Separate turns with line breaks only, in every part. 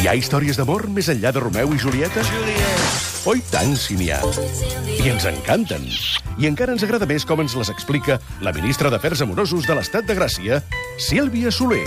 Hi ha històries d'amor més enllà de Romeu i Julieta? Oi tant, si n'hi ha. I ens encanten. I encara ens agrada més com ens les explica la ministra d'Afers Amorosos de l'Estat de Gràcia, Sílvia Soler.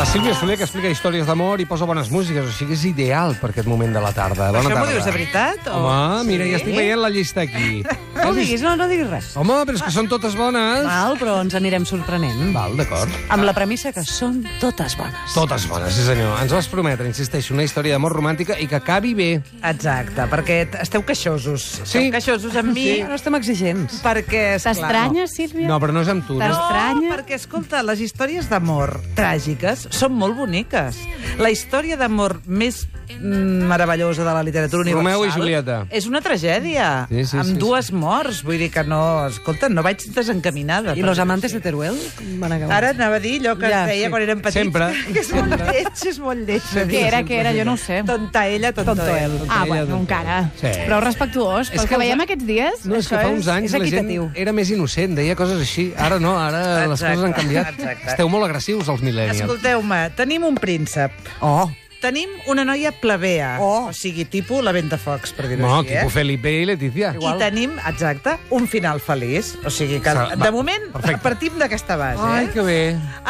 La Sílvia Soler, que explica històries d'amor i posa bones músiques, o sigui, és ideal per aquest moment de la tarda. Bona
Això m'ho
tarda.
dius de veritat? O...
Home, mira,
Sí?
ja estic veient la llista aquí.
No ho diguis, no, no diguis res.
Home, però és que són totes bones.
Val, però ens anirem sorprenent.
Val, d'acord.
Amb la premissa que són totes bones.
Totes bones, sí senyor. Ens vas prometre, insisteixo, una història d'amor romàntica i que acabi bé.
Exacte, perquè t- esteu queixosos. Esteu queixosos amb mi.
Sí.
No estem exigents. Perquè, esclar...
T'estranya, Sílvia?
No, però no és amb tu. No?
T'has- T'estranya?
No, perquè, escolta, les històries d'amor tràgiques són molt boniques. La història d'amor més mm, meravellosa de la literatura
Romeu
universal...
i Julieta.
És una tragèdia,
Sí, sí,
amb
sí,
dues morts. Vull dir que no... Escolta, no vaig desencaminada.
¿Y
per
los
dir-ho
amantes
així.
de Teruel? Van acabar.
Ara anava a dir allò que ja,
Ja,
es deia sí.
sí.
quan érem petits.
Sempre.
Que és molt lleig, és molt lleig.
Què era, què era? Jo no ho sé.
Tonta ella, tonto, tonto
Tonto
ell.
él.
Ah, bueno, encara.
Sí.
Però respectuós. Pel
que
que
els-
veiem aquests dies,
No, és que
això
fa uns anys
és
la gent
equitatiu.
era més innocent, deia coses així. Ara no, ara les
Exacte,
coses han canviat.
exacte.
Esteu molt agressius, els mil·lennials.
Escolteu-me, tenim un príncep.
Oh,
Tenim una noia plebea, o
Oh.
sigui, tipus la Ventafocs, per dir-ho
No,
així, eh?
Quico Felipe i Letizia.
I tenim, exacte, un final feliç. O sigui que,
Sa-
de
va,
moment,
perfecte.
partim d'aquesta base.
Ai,
eh?
que bé.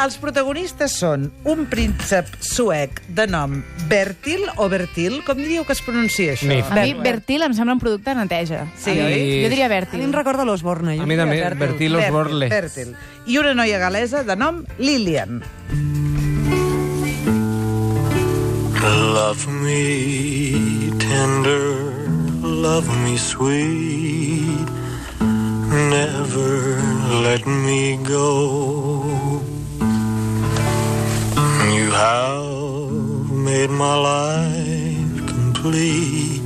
Els protagonistes són un príncep suec de nom Bertil o Bertil, com diríeu que es pronuncia això?
Ni
A mi Bertil em sembla un producte de neteja.
Sí,
A mi-
oi?
Jo diria
a mi em
Bertil.
recorda los Borne.
A mi també, Bertil Los Borle.
Bertil. I una noia galesa de nom Lilian.
Love me tender, love me sweet. Never let me go. You have made my life complete,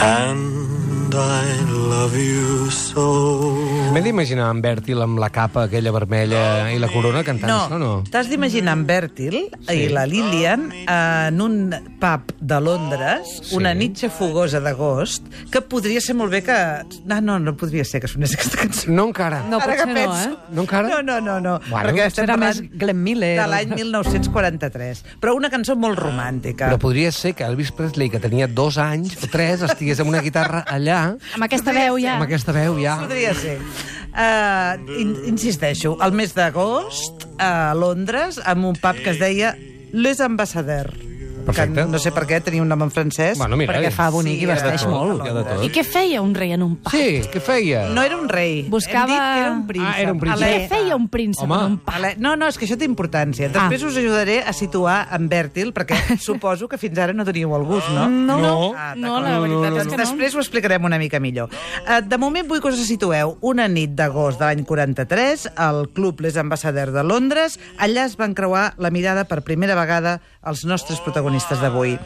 and I love you so.
M'he d'imaginar en Bertil amb la capa aquella vermella i la corona cantant això, no?
t'has d'imaginar en Bertil sí. i la Lillian eh, en un pub de Londres, sí. una nitxa fogosa d'agost, que podria ser molt bé que... No, no, no podria ser que sonés aquesta cançó.
No encara.
No,
Ara que
potser no,
penso-
eh?
No encara?
No, no, no. no.
Bueno,
perquè estem
Serà més
parlant
Glenn Miller.
de l'any 1943. Però una cançó molt romàntica.
Però podria ser que Elvis Presley, que tenia dos anys o tres, estigués amb una guitarra allà,
Amb aquesta veu ja.
amb aquesta veu ja...
Podria ser. Uh, in insisteixo, el mes d'agost a Londres, amb un pub que es deia Les Ambassadeurs.
Perfecte.
Que no sé per què, tenia un nom en francès.
Bueno, mira,
Perquè fa bonic
Sí,
i vesteix
era-
molt.
Hi ha de
I
tot.
què feia un rei en un pub?
Sí, què feia?
No era un rei.
Buscava-
Hem dit que era un príncep.
Ah, era un príncep.
A
Què
l'e-
feia un Ah. príncep
Home.
en un pub?
a l'e- No, no, és que això té importància. Després us ajudaré a situar en Bèrtil, perquè suposo que fins ara no teníeu el gust, no?
No. no.
Ah, d'acord.
No, la veritat és
Doncs
que no.
després ho explicarem una mica millor. Eh, De moment vull que us situeu una nit d'agost de l'any 43 al Club Les Ambassadeurs de Londres. Allà es van creuar la mirada per primera vegada els nostres protagonistes d'avui.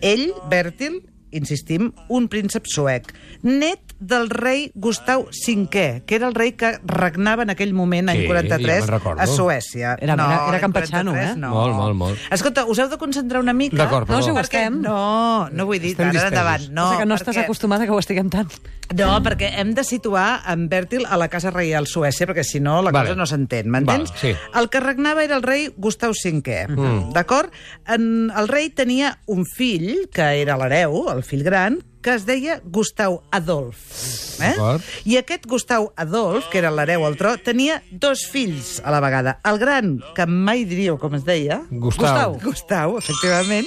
Ell, Bertil, insistim, un príncep suec, net del rei Gustau V, que era el rei que regnava en aquell moment,
Sí,
any 43,
ja me'n recordo.
a Suècia.
Era- era- era
l'any
campechano,
43
eh?
No.
Molt, molt, molt.
Escolta, us heu de concentrar una mica.
D'acord, No us perdó.
perquè-
acostem.
No, no vull dir,
Estem
ara
distesos.
endavant. No,
No, que no estàs
perquè-
acostumada que ho estiguem tant.
No, perquè hem de situar en Bèrtil a la Casa Reial Suècia, perquè si no la
Vale.
cosa no s'entén, m'entens?
Val, sí.
El que regnava era el rei Gustau V, mm. d'acord? En- El rei tenia un fill, que era l'hereu, el fill gran, que es deia Gustau Adolf. Eh?
D'acord.
I aquest Gustau Adolf, que era l'hereu al tro, tenia dos fills a la vegada. El gran, que mai diríeu com es deia...
Gustau.
Gustau, Gustau efectivament,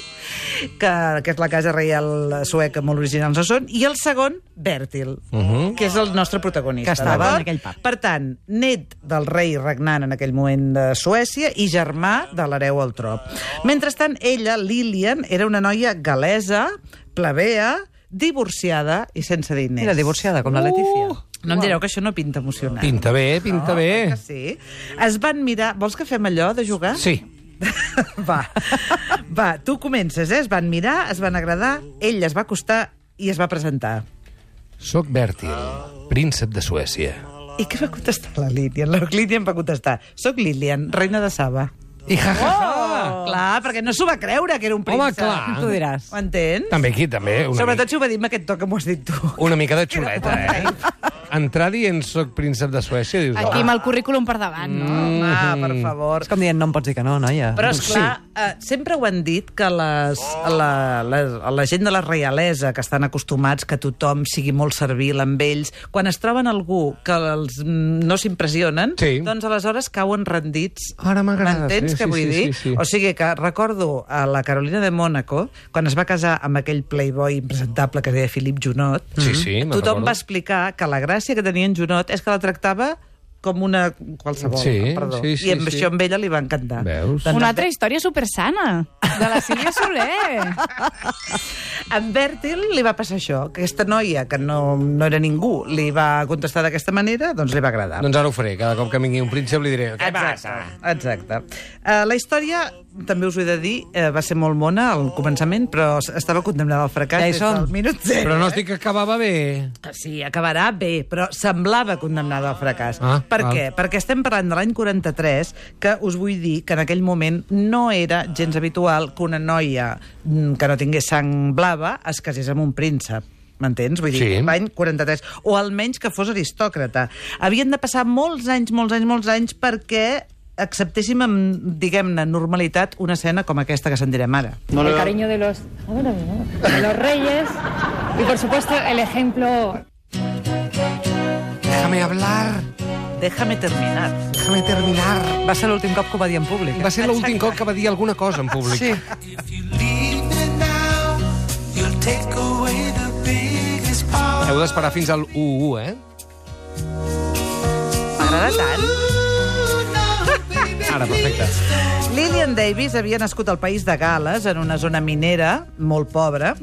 que, que és la casa reial sueca, molt originals no són, i el segon, Bèrtil, uh
Mhm.
-huh. que és el nostre protagonista.
Que estava
d'acord?
en aquell pub.
Per tant, net del rei regnant en aquell moment de Suècia i germà de l'hereu al trop. Mentrestant, ella, Lilian, era una noia galesa, plebea, divorciada i sense diners. Uh!
Era divorciada, com la Letícia.
No em direu que això no pinta emocionant.
Pinta bé, pinta
no, oi
bé.
Que sí. Es van mirar... Vols que fem allò de jugar?
Sí.
Va, va, tu comences, eh? Es van mirar, es van agradar, ell es va acostar i es va presentar.
Soc Bertil, príncep de Suècia.
I què va contestar la Lilian? La Lilian va contestar, soc Lilian, reina de Saba. Ah,
I ja, ja, ja.
Clar, perquè no s'ho va creure que era un
Oh. Home,
príncep.
clar.
Tu diràs.
Ho entens?
També aquí, també. Una
Sobretot si ho va dir amb aquest to que m'ho has dit tu.
mica, una mica de xuleta, eh? Entrar dient soc príncep de Suècia, dius... Mm,
Aquí amb el currículum per davant, no?
Home, per favor.
És com dient, no em pots dir que no, noia.
Doncs
Però, esclar, sí. Uh, sempre ho han dit que les, la, la, la gent de la reialesa que estan acostumats que tothom sigui molt servil amb ells, quan es troben algú que els, mm, no s'impressionen,
Sí.
doncs aleshores cauen rendits.
Ara m'agrada,
M'entens
sí,
què
sí,
vull
sí,
dir?
sí, sí.
O sigui que recordo a la Carolina de Mónaco, quan es va casar amb aquell playboy impresentable que es deia Philip Junot,
Sí, sí, me'n
tothom
recordo.
va explicar que la gràcia que tenia en Junot és que la tractava com una qualsevol,
Sí,
perdó.
sí, sí,
I amb
sí.
això amb ella li va encantar.
Veus?
Doncs
Una
amb
altra història supersana, de la Sílvia Soler.
En Bertil li va passar això, que aquesta noia, que no, no era ningú, li va contestar d'aquesta manera, doncs li va agradar.
Doncs ara ho faré. Cada cop que vingui un príncep li diré... "Què
Exacte. Exacte. Uh, la història, també us ho he de dir, uh, va ser molt mona al començament, però s- estava condemnada al fracàs
Ja hi
des
som.
del minut zero.
Però no estic que acabava bé.
Eh, Sí, acabarà bé, però semblava condemnada al fracàs.
Ah,
per
val.
què? Perquè estem parlant de l'any 43, que us vull dir que en aquell moment no era gens habitual que una noia mm, que no tingués sang blava es casés amb un príncep. M'entens? Vull dir,
Sí.
l'any 43. O almenys que fos aristòcrata. Havien de passar molts anys, molts anys, molts anys perquè acceptéssim amb, diguem-ne, normalitat una escena com aquesta que sentirem ara.
el cariño de los, de los reyes y por supuesto el ejemplo
Déjame hablar,
Déjame terminar.
déjame terminar.
Va ser l'últim cop que ho va dir en públic.
Va ser l'últim cop que va dir alguna cosa en públic.
Sí.
Heu d'esperar fins al 1-1, eh?
M'agrada tant.
Ara, perfecte.
Lillian Davis havia nascut al país de Gales, en una zona minera molt pobra.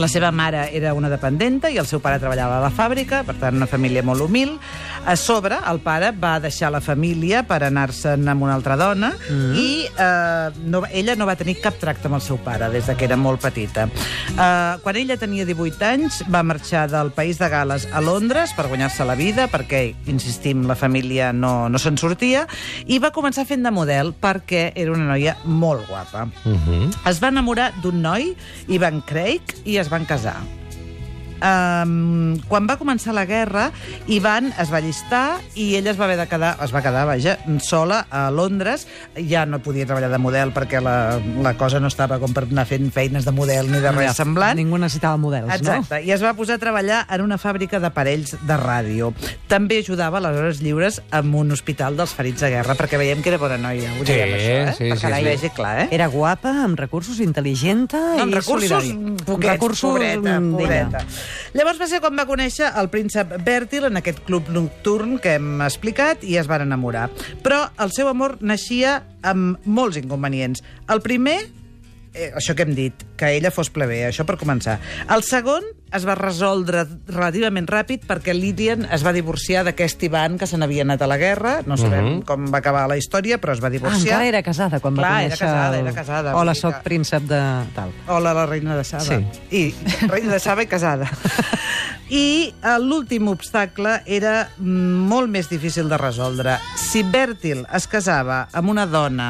La seva mare era una dependenta i el seu pare treballava a la fàbrica, per tant, una família molt humil. A sobre, el pare va deixar la família per anar-se'n amb una altra dona mm. i eh, no, ella no va tenir cap tracte amb el seu pare des de que era molt petita. Eh, quan ella tenia 18 anys, va marxar del país de Gales a Londres per guanyar-se la vida, perquè, insistim, la família no, no se'n sortia, i va començar fent de model perquè era una noia molt guapa. Uh -huh. Es va enamorar d'un noi, Ivan Craig, i es van casar. Um, quan va començar la guerra, Ivan es va llistar i ella es va haver de quedar, es va quedar, vaja, sola a Londres. Ja no podia treballar de model perquè la, la cosa no estava com per anar fent feines de model ni de res
Ja,
semblant.
Ningú necessitava models,
Exacte, i es va posar a treballar en una fàbrica d'aparells de ràdio. També ajudava a les hores lliures amb un hospital dels ferits de guerra, perquè veiem que era bona noia, ho
Sí,
dèiem, això, eh?
sí, sí,
perquè
sí.
es vegi clar,
no?
eh?
Era guapa, amb recursos, intel·ligenta
No, amb
i
recursos, mm,
solidària. Amb
poquets,
recursos,
pobreta,
mm, d'ella.
pobreta. Llavors va ser quan va conèixer el príncep Bertil en aquest club nocturn que hem explicat i es van enamorar. Però el seu amor naixia amb molts inconvenients. El primer, eh, això que hem dit, que ella fos plebea, això per començar. El segon es va resoldre relativament ràpid perquè Lydian es va divorciar d'aquest Ivan que se n'havia anat a la guerra, no sabem com va acabar la història, però es va
Ah,
divorciar.
encara era casada quan
Clar,
va
era
conèixer...
casada,
el-
era casada, vull
Hola,
dir
soc
que-
príncep de tal.
Hola, la reina de Saba.
Sí.
I reina de Saba i casada. I eh, l'últim obstacle era mm, molt més difícil de resoldre. Si Bèrtil es casava amb una dona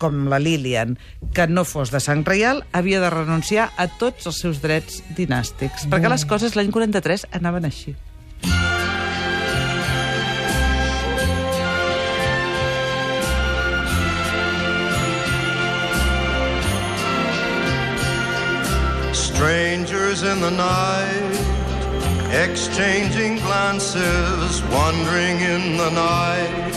com la Lilian, que no fos de sang reial, havia de renunciar a tots els seus drets dinàstics. Perquè les coses l'any 43 anaven així.
Strangers in the night, exchanging glances, wandering in the night.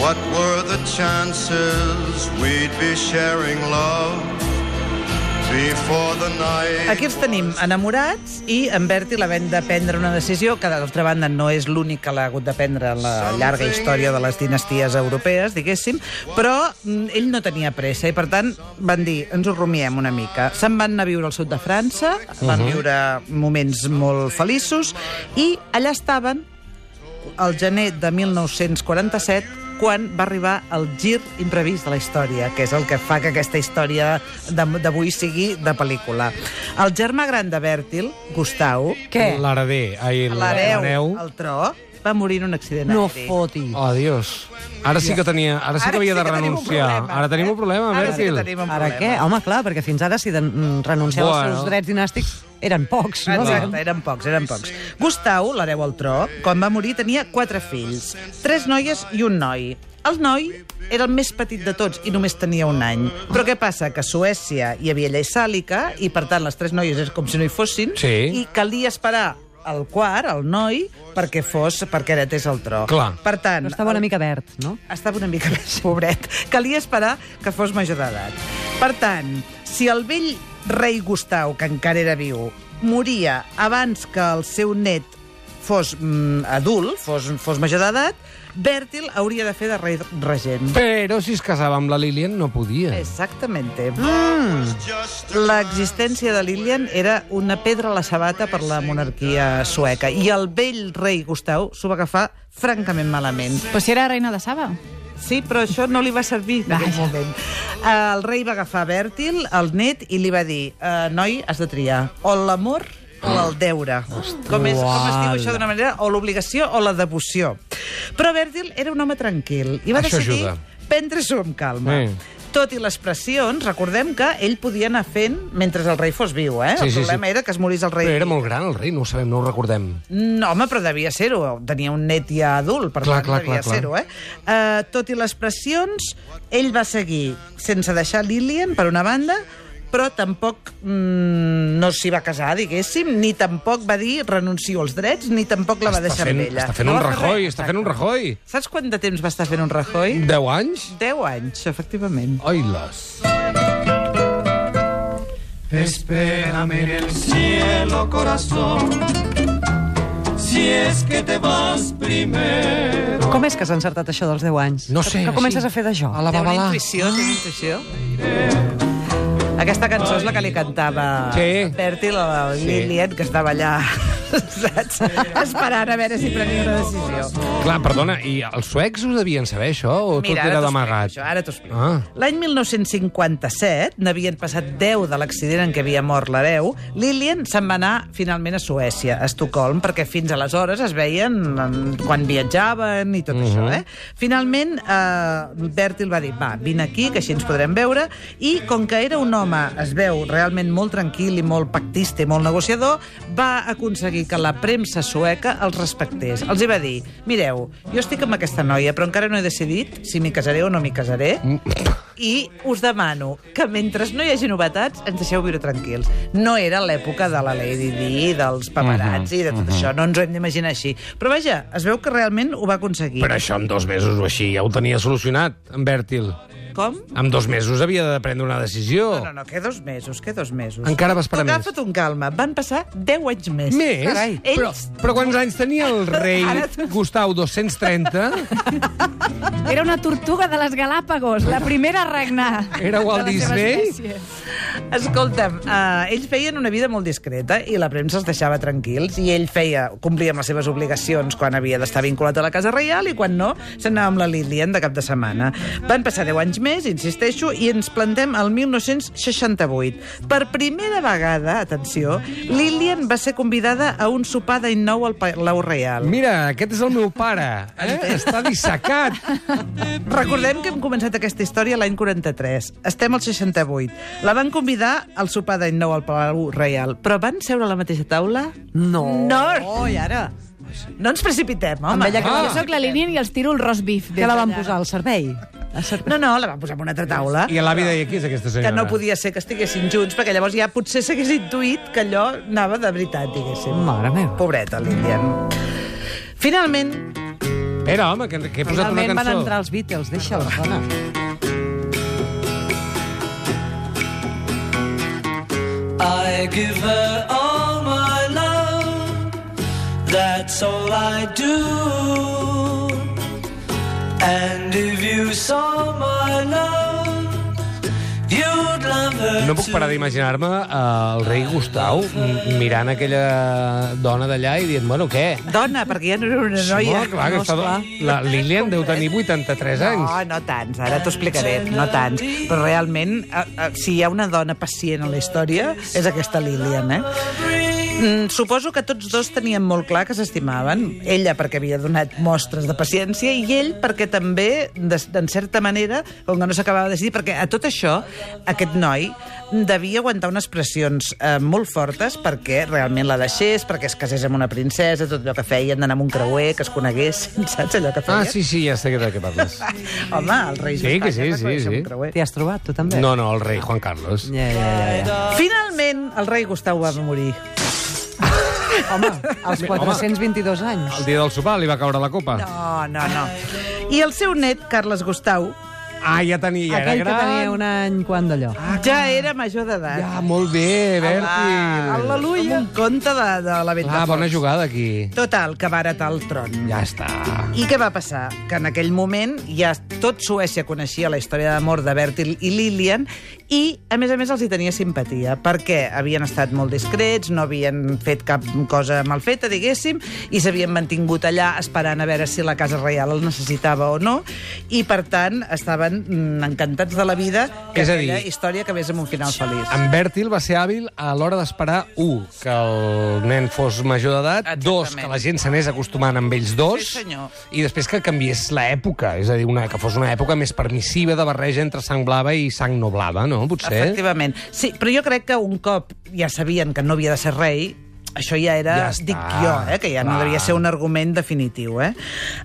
What were the chances we'd be sharing love before the night?
Aquí els tenim enamorats i en Bertil havent de prendre una decisió que, d'altra banda, no és l'únic que l'ha hagut de prendre en la llarga història de les dinasties europees, diguéssim, però mm, ell no tenia pressa i, per tant, van dir, ens ho rumiem una mica. Se'n van anar a viure al sud de França, van viure moments molt feliços i allà estaven el gener de 1947 quan va arribar el gir imprevist de la història, que és el que fa que aquesta història de- d'avui sigui de pel·lícula. El germà gran de Bèrtil, Gustau,
Què?
L'heredé. Ai,
l'hereu, el tro, va morir en un accident
No
aeri.
foti.
Oh, Dios. Ara sí que tenia... Ara sí que havia de
tenim un
renunciar.
problema, eh?
Ara tenim un problema,
Ara sí
Bertil.
que tenim un
Ara
problema.
què? Home, clar, perquè fins ara si de, mm, renunciava
Bueno.
als seus drets dinàstics eren pocs, no?
Exacte, eren pocs, eren pocs. Gustau, l'hereu al tro, quan va morir tenia quatre fills, tres noies i un noi. El noi era el més petit de tots i només tenia un any. Però què passa? Que a Suècia hi havia llei sàlica i, per tant, les tres noies és com si no hi fossin
Sí.
i calia esperar el quart, el noi, perquè fos, perquè heretés el tro.
Clar.
Per tant,
Però estava una mica verd, no?
estava una mica més pobret. Calia esperar que fos major d'edat. Per tant, si el vell rei Gustau, que encara era viu, moria abans que el seu net fos mm, adult, fos, fos major d'edat, Bèrtil hauria de fer de rei regent.
Però si es casava amb la Lilian no podia.
Exactament. Mm. L'existència de Lilian era una pedra a la sabata per la monarquia sueca i el vell rei Gustau s'ho va agafar francament malament.
Però si era reina de Saba.
Sí, però això no li va servir en aquell moment. Eh, El rei va agafar Bèrtil, el net, i li va dir eh, noi, has de triar o l'amor o el deure. Com, és, com es diu això d'una manera? O l'obligació o la devoció. Però Bèrtil era un home tranquil i va
Això
decidir
ajuda.
prendre-s'ho amb calma.
Sí.
Tot i les pressions, recordem que ell podia anar fent mentre el rei fos viu, eh?
Sí,
el
sí,
problema
sí.
era que es morís el rei.
Però era molt gran el rei, no ho sabem, no ho recordem.
No, home, però devia ser-ho. Tenia un net ja adult, per
Clar,
tant,
clar,
devia
clar, clar.
ser-ho, eh? Uh, tot i les pressions, ell va seguir sense deixar Lillian, per una banda, però tampoc mm, no s'hi va casar, diguéssim, ni tampoc va dir renuncio als drets, ni tampoc la va
Està
deixar
fent,
amb ella.
està fent
No
un
va fer
Rajoy,
res,
està fent un
exacte.
Rajoy.
Saps quant de temps va estar fent un Rajoy?
10 anys?
10 anys, efectivament.
Ai, les...
Espérame en el cielo, corazón. Si es que te vas primero.
Com és que has encertat això dels 10 anys?
No sé,
Que comences
sí.
a fer d'això?
A la
Té una
babalà.
intuïció, té una intuïció. Aquesta cançó és la que li cantava
Sí.
Bertil a la Lillian, que estava allà, Ah, saps? Esperant a veure si prenia una decisió.
Clar, perdona, i els suecs ho devien saber, això? O tot
ara
era
t'ho
d'amagat?
explico, això, eh? Ara t'ho explico.
Ah.
L'any 1957, n'havien passat 10 de l'accident en què havia mort l'hereu, Lillian se'n va anar finalment a Suècia, a Estocolm, perquè fins aleshores es veien mm, quan viatjaven i tot això, eh? Finalment, eh, Bertil va dir, va, vine aquí, que així ens podrem veure, i com que era un home, es veu, realment molt tranquil i molt pactista i molt negociador, va aconseguir que la premsa sueca els respectés. Els hi va dir, mireu, jo estic amb aquesta noia, però encara no he decidit si m'hi casaré o no m'hi casaré, i us demano que mentre no hi hagi novetats ens deixeu viure tranquils. No era l'època de la Lady Di, dels paparazzi, de tot això, no ens ho hem d'imaginar així. Però vaja, es veu que realment ho va aconseguir.
Però això en dos mesos o així ja ho tenia solucionat, en Bèrtil.
Com?
En dos mesos havia de prendre una decisió.
No, no, no, que dos mesos, que dos mesos.
Oh. Encara va esperar
tu
més.
Agafa't un calma. Van passar 10 anys més.
Més?
Carai.
Però,
Ells...
però quants anys tenia el rei
Ara tu-
Gustau 230?
Era una tortuga de les Galàpagos, la primera a regnar.
Era Walt
de la seva
Disney?
espècie.
Escolta'm, uh, ells feien una vida molt discreta i la premsa els deixava tranquils i ell feia, complia amb les seves obligacions quan havia d'estar vinculat a la Casa Reial i quan no, se n'anava amb la Lilian de cap de setmana. Van passar 10 anys més, insisteixo, i ens plantem al 1968. Per primera vegada, atenció, Lilian va ser convidada a un sopar d'any nou al Palau Reial.
Mira, aquest és el meu pare. Eh? Està dissecat.
Recordem que hem començat aquesta història l'any 43. Estem al 68. La van convidar al sopar d'any nou al Palau Reial, però van seure a la mateixa taula?
No.
No!
Oh, i ara?
No ens precipitem, home.
ella que-
Jo sóc la Lilian i els tiro el roast beef.
Ah. Que la van
des d'allà.
posar al servei? A servei.
No, no, la van posar en una altra taula.
I l'avi deia, qui és aquesta
que
senyora?
no podia ser que estiguessin junts, perquè llavors ja potser s'hagués intuït que allò anava de veritat, diguéssim.
Mare meva.
Pobreta, Lilian. Finalment,
Era, home, que, que he posat una
Finalment van
cançó.
entrar els Beatles, deixa'ls, dona.
I give her all my love. That's all I do. And if you saw my love, you'd love her
No puc parar d'imaginar-me eh, el rei Gustau m- mirant aquella dona d'allà i dient, bueno, què?
dona, perquè ja no era una noia.
Home, clar, que està... La Lilian deu tenir 83 anys.
No, no tants, ara t'ho explicaré, no tants. Però eh, realment, a, a, si hi ha una dona pacient a la història, és aquesta Lilian, eh?
too.
Mm, suposo que tots dos tenien molt clar que s'estimaven. Ella perquè havia donat mostres de paciència i ell perquè també, des- d'en certa manera, com que no s'acabava de decidir, perquè a tot això, aquest noi devia aguantar unes pressions eh, molt fortes perquè realment la deixés, perquè es casés amb una princesa, tot allò que feien d'anar amb un creuer, que es conegués, saps allò que
Ah,
feien?
sí, sí, ja sé de què parles.
Home, els reis
Sí, que
d'Espanya
sí,
es van
sí,
conèixer
sí.
amb un creuer.
T'hi has trobat, tu també?
No, no, el rei Juan Carlos.
Ja, ja, ja. ja.
Finalment, el rei Gustau va morir.
Home, als 422 anys.
El dia del sopar li va caure la copa.
Oh, No, no, no. I el seu net, Carles Gustau,
Ah, ja tenia, ja era
Aquell que
gran.
tenia un any, quan d'allò?
Ah, ja era major d'edat.
Ja, molt bé, Berti.
Al·leluia. Un conte de, de la venda.
Ah, bona jugada aquí.
Total, que va heretar el tron.
Ja està.
I què va passar? Que en aquell moment ja tot Suècia coneixia la història d'amor de Bertil i Lilian i, a més a més, els hi tenia simpatia perquè havien estat molt discrets, no havien fet cap cosa mal feta, diguéssim, i s'havien mantingut allà esperant a veure si la Casa Reial el necessitava o no i, per tant, estaven mm, encantats de la vida que
És a
aquella
dir,
història que vés amb un final feliç.
En Bertil va ser hàbil a l'hora d'esperar, un, que el nen fos major d'edat,
Exactament.
dos, que la gent s'anés acostumant amb ells dos,
Sí, senyor.
i després que canviés l'època, és a dir, una, que fos una època més permissiva de barreja entre sang blava i sang no blava, no? Potser?
Efectivament. Sí, però jo crec que un cop ja sabien que no havia de ser rei, això ja era,
Ja està,
dic jo, eh, que ja no
clar.
devia ser un argument definitiu. Eh?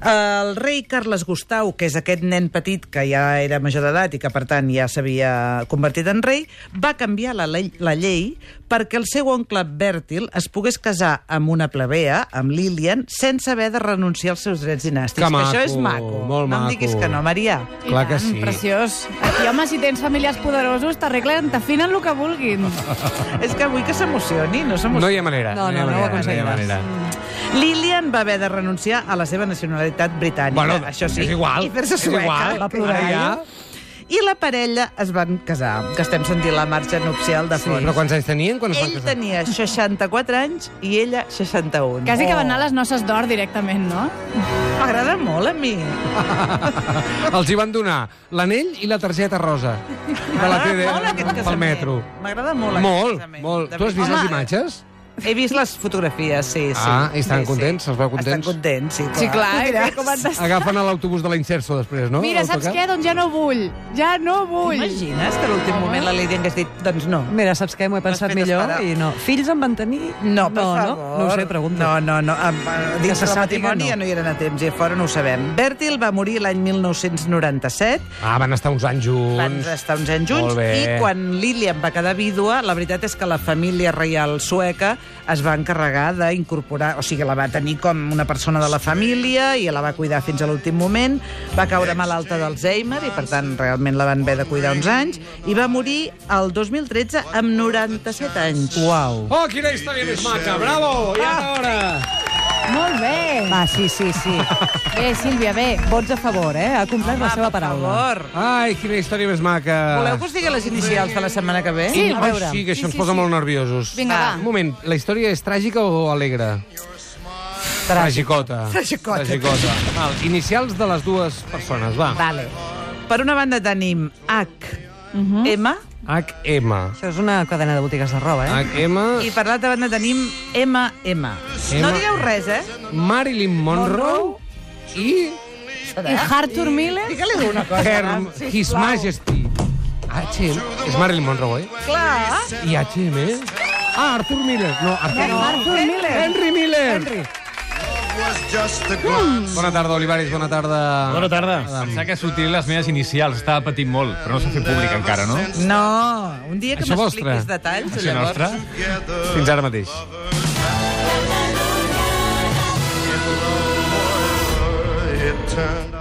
El rei Carles Gustau, que és aquest nen petit que ja era major d'edat i que, per tant, ja s'havia convertit en rei, va canviar la, llei- la llei perquè el seu oncle Bèrtil es pogués casar amb una plebea, amb Lilian, sense haver de renunciar als seus drets dinàstics.
Que
això
maco,
és maco.
molt
no
maco.
em diguis que no, Maria.
Clar que sí.
Preciós. Aquí, home, si tens familiars poderosos, t'arreglen, t'afinen el que vulguin.
és que vull que s'emocioni, no s'emocioni.
No hi ha manera.
No, no,
hi ha
no ho
manera, hi ha
aconseguiràs.
manera.
Lilian va haver de renunciar a la seva nacionalitat britànica.
Bueno,
això sí,
és igual,
I fer-se
és
sueca.
igual,
Va plorar
ara ja.
ella. I la parella es van casar, que estem sentint la marxa nupcial de
Sí,
fons.
però quants anys tenien quan es van
Ell
casar?
tenia 64 anys i ella 61.
Quasi que van anar a les noces d'or directament, no?
Oh, M'agrada molt a mi.
Els hi van donar l'anell i la targeta rosa de la
M'agrada Ah, molt
TD
aquest
pel
casament.
metro.
M'agrada molt aquest
Molt,
casament.
molt.
De
Tu has vist
veritat.
les imatges?
He vist les fotografies, sí, sí.
Ah, i estan
Sí, sí.
contents? Els veu contents?
Estan contents, sí, clar.
Sí, clar,
Mira,
eh, com han de ser.
Agafen a l'autobús de la Inserso després, no?
Mira, saps
L'autocar?
què? Doncs ja no vull. Ja no vull.
T'imagines que a l'últim moment la Lady hagués dit, doncs no.
Mira, saps què? M'ho he pensat
fet
millor
esperar.
i no. Fills en van tenir?
No, per
no,
favor.
No, no ho sé, pregunto.
No, no, no. Amb, eh, dins
se
del
sàpiga,
matrimoni
no.
ja no hi eren a temps, i a fora no ho sabem. Bertil va morir l'any 1997,
Ah, van estar uns anys junts.
van estar uns anys
Molt
junts,
bé.
i quan Lilian va quedar vídua, la veritat és que la família reial sueca es va encarregar d'incorporar, o sigui, la va tenir com una persona de la família i la va cuidar fins a l'últim moment, va caure malalta d'Alzheimer i, per tant, realment la van haver de cuidar uns anys, i va morir el 2013 amb 97 anys.
Uau.
Oh, quina història més maca! Bravo! Ja era hora!
Molt bé.
Ah,
Va, sí, sí, sí.
Bé, Sílvia, bé.
Vots a favor, eh? Ha complert la seva paraula.
favor.
Ai, quina història més maca!
Voleu que us digui les inicials de la setmana que ve?
Sí,
Ai,
a veure.
sí, que això
Sí,
ens
sí,
posa
sí.
molt nerviosos. Ah,
Vinga, va.
Un moment, la història és tràgica o alegre? Tragicota.
Tragicota.
Tragicota. Val, inicials de les dues persones, va.
Vale. Per una banda tenim H, M,
H-M.
Mhm. Això és una cadena de botigues de roba, eh?
H-M.
i per l'altra banda tenim M, M. No direu res, eh?
Marilyn Monroe i
I Arthur Miller?
Digue-li una cosa.
Her His Majesty. H.M. És Marilyn Monroe, eh?
Clar.
I H.M. eh? Ah, Arthur Miller. No, Arthur no.
Arthur Miller.
Henry Miller.
was just a glance.
Bona tarda, Olivares. Bona tarda.
Bona tarda. Pensava que sortirien les meves inicials. Estava patint molt, però no s'ha fet públic encara, no?
No, un dia que
Això
m'expliquis
vostre.
detalls,
Això
llavors...
nostra?
Fins ara mateix.
It turned out.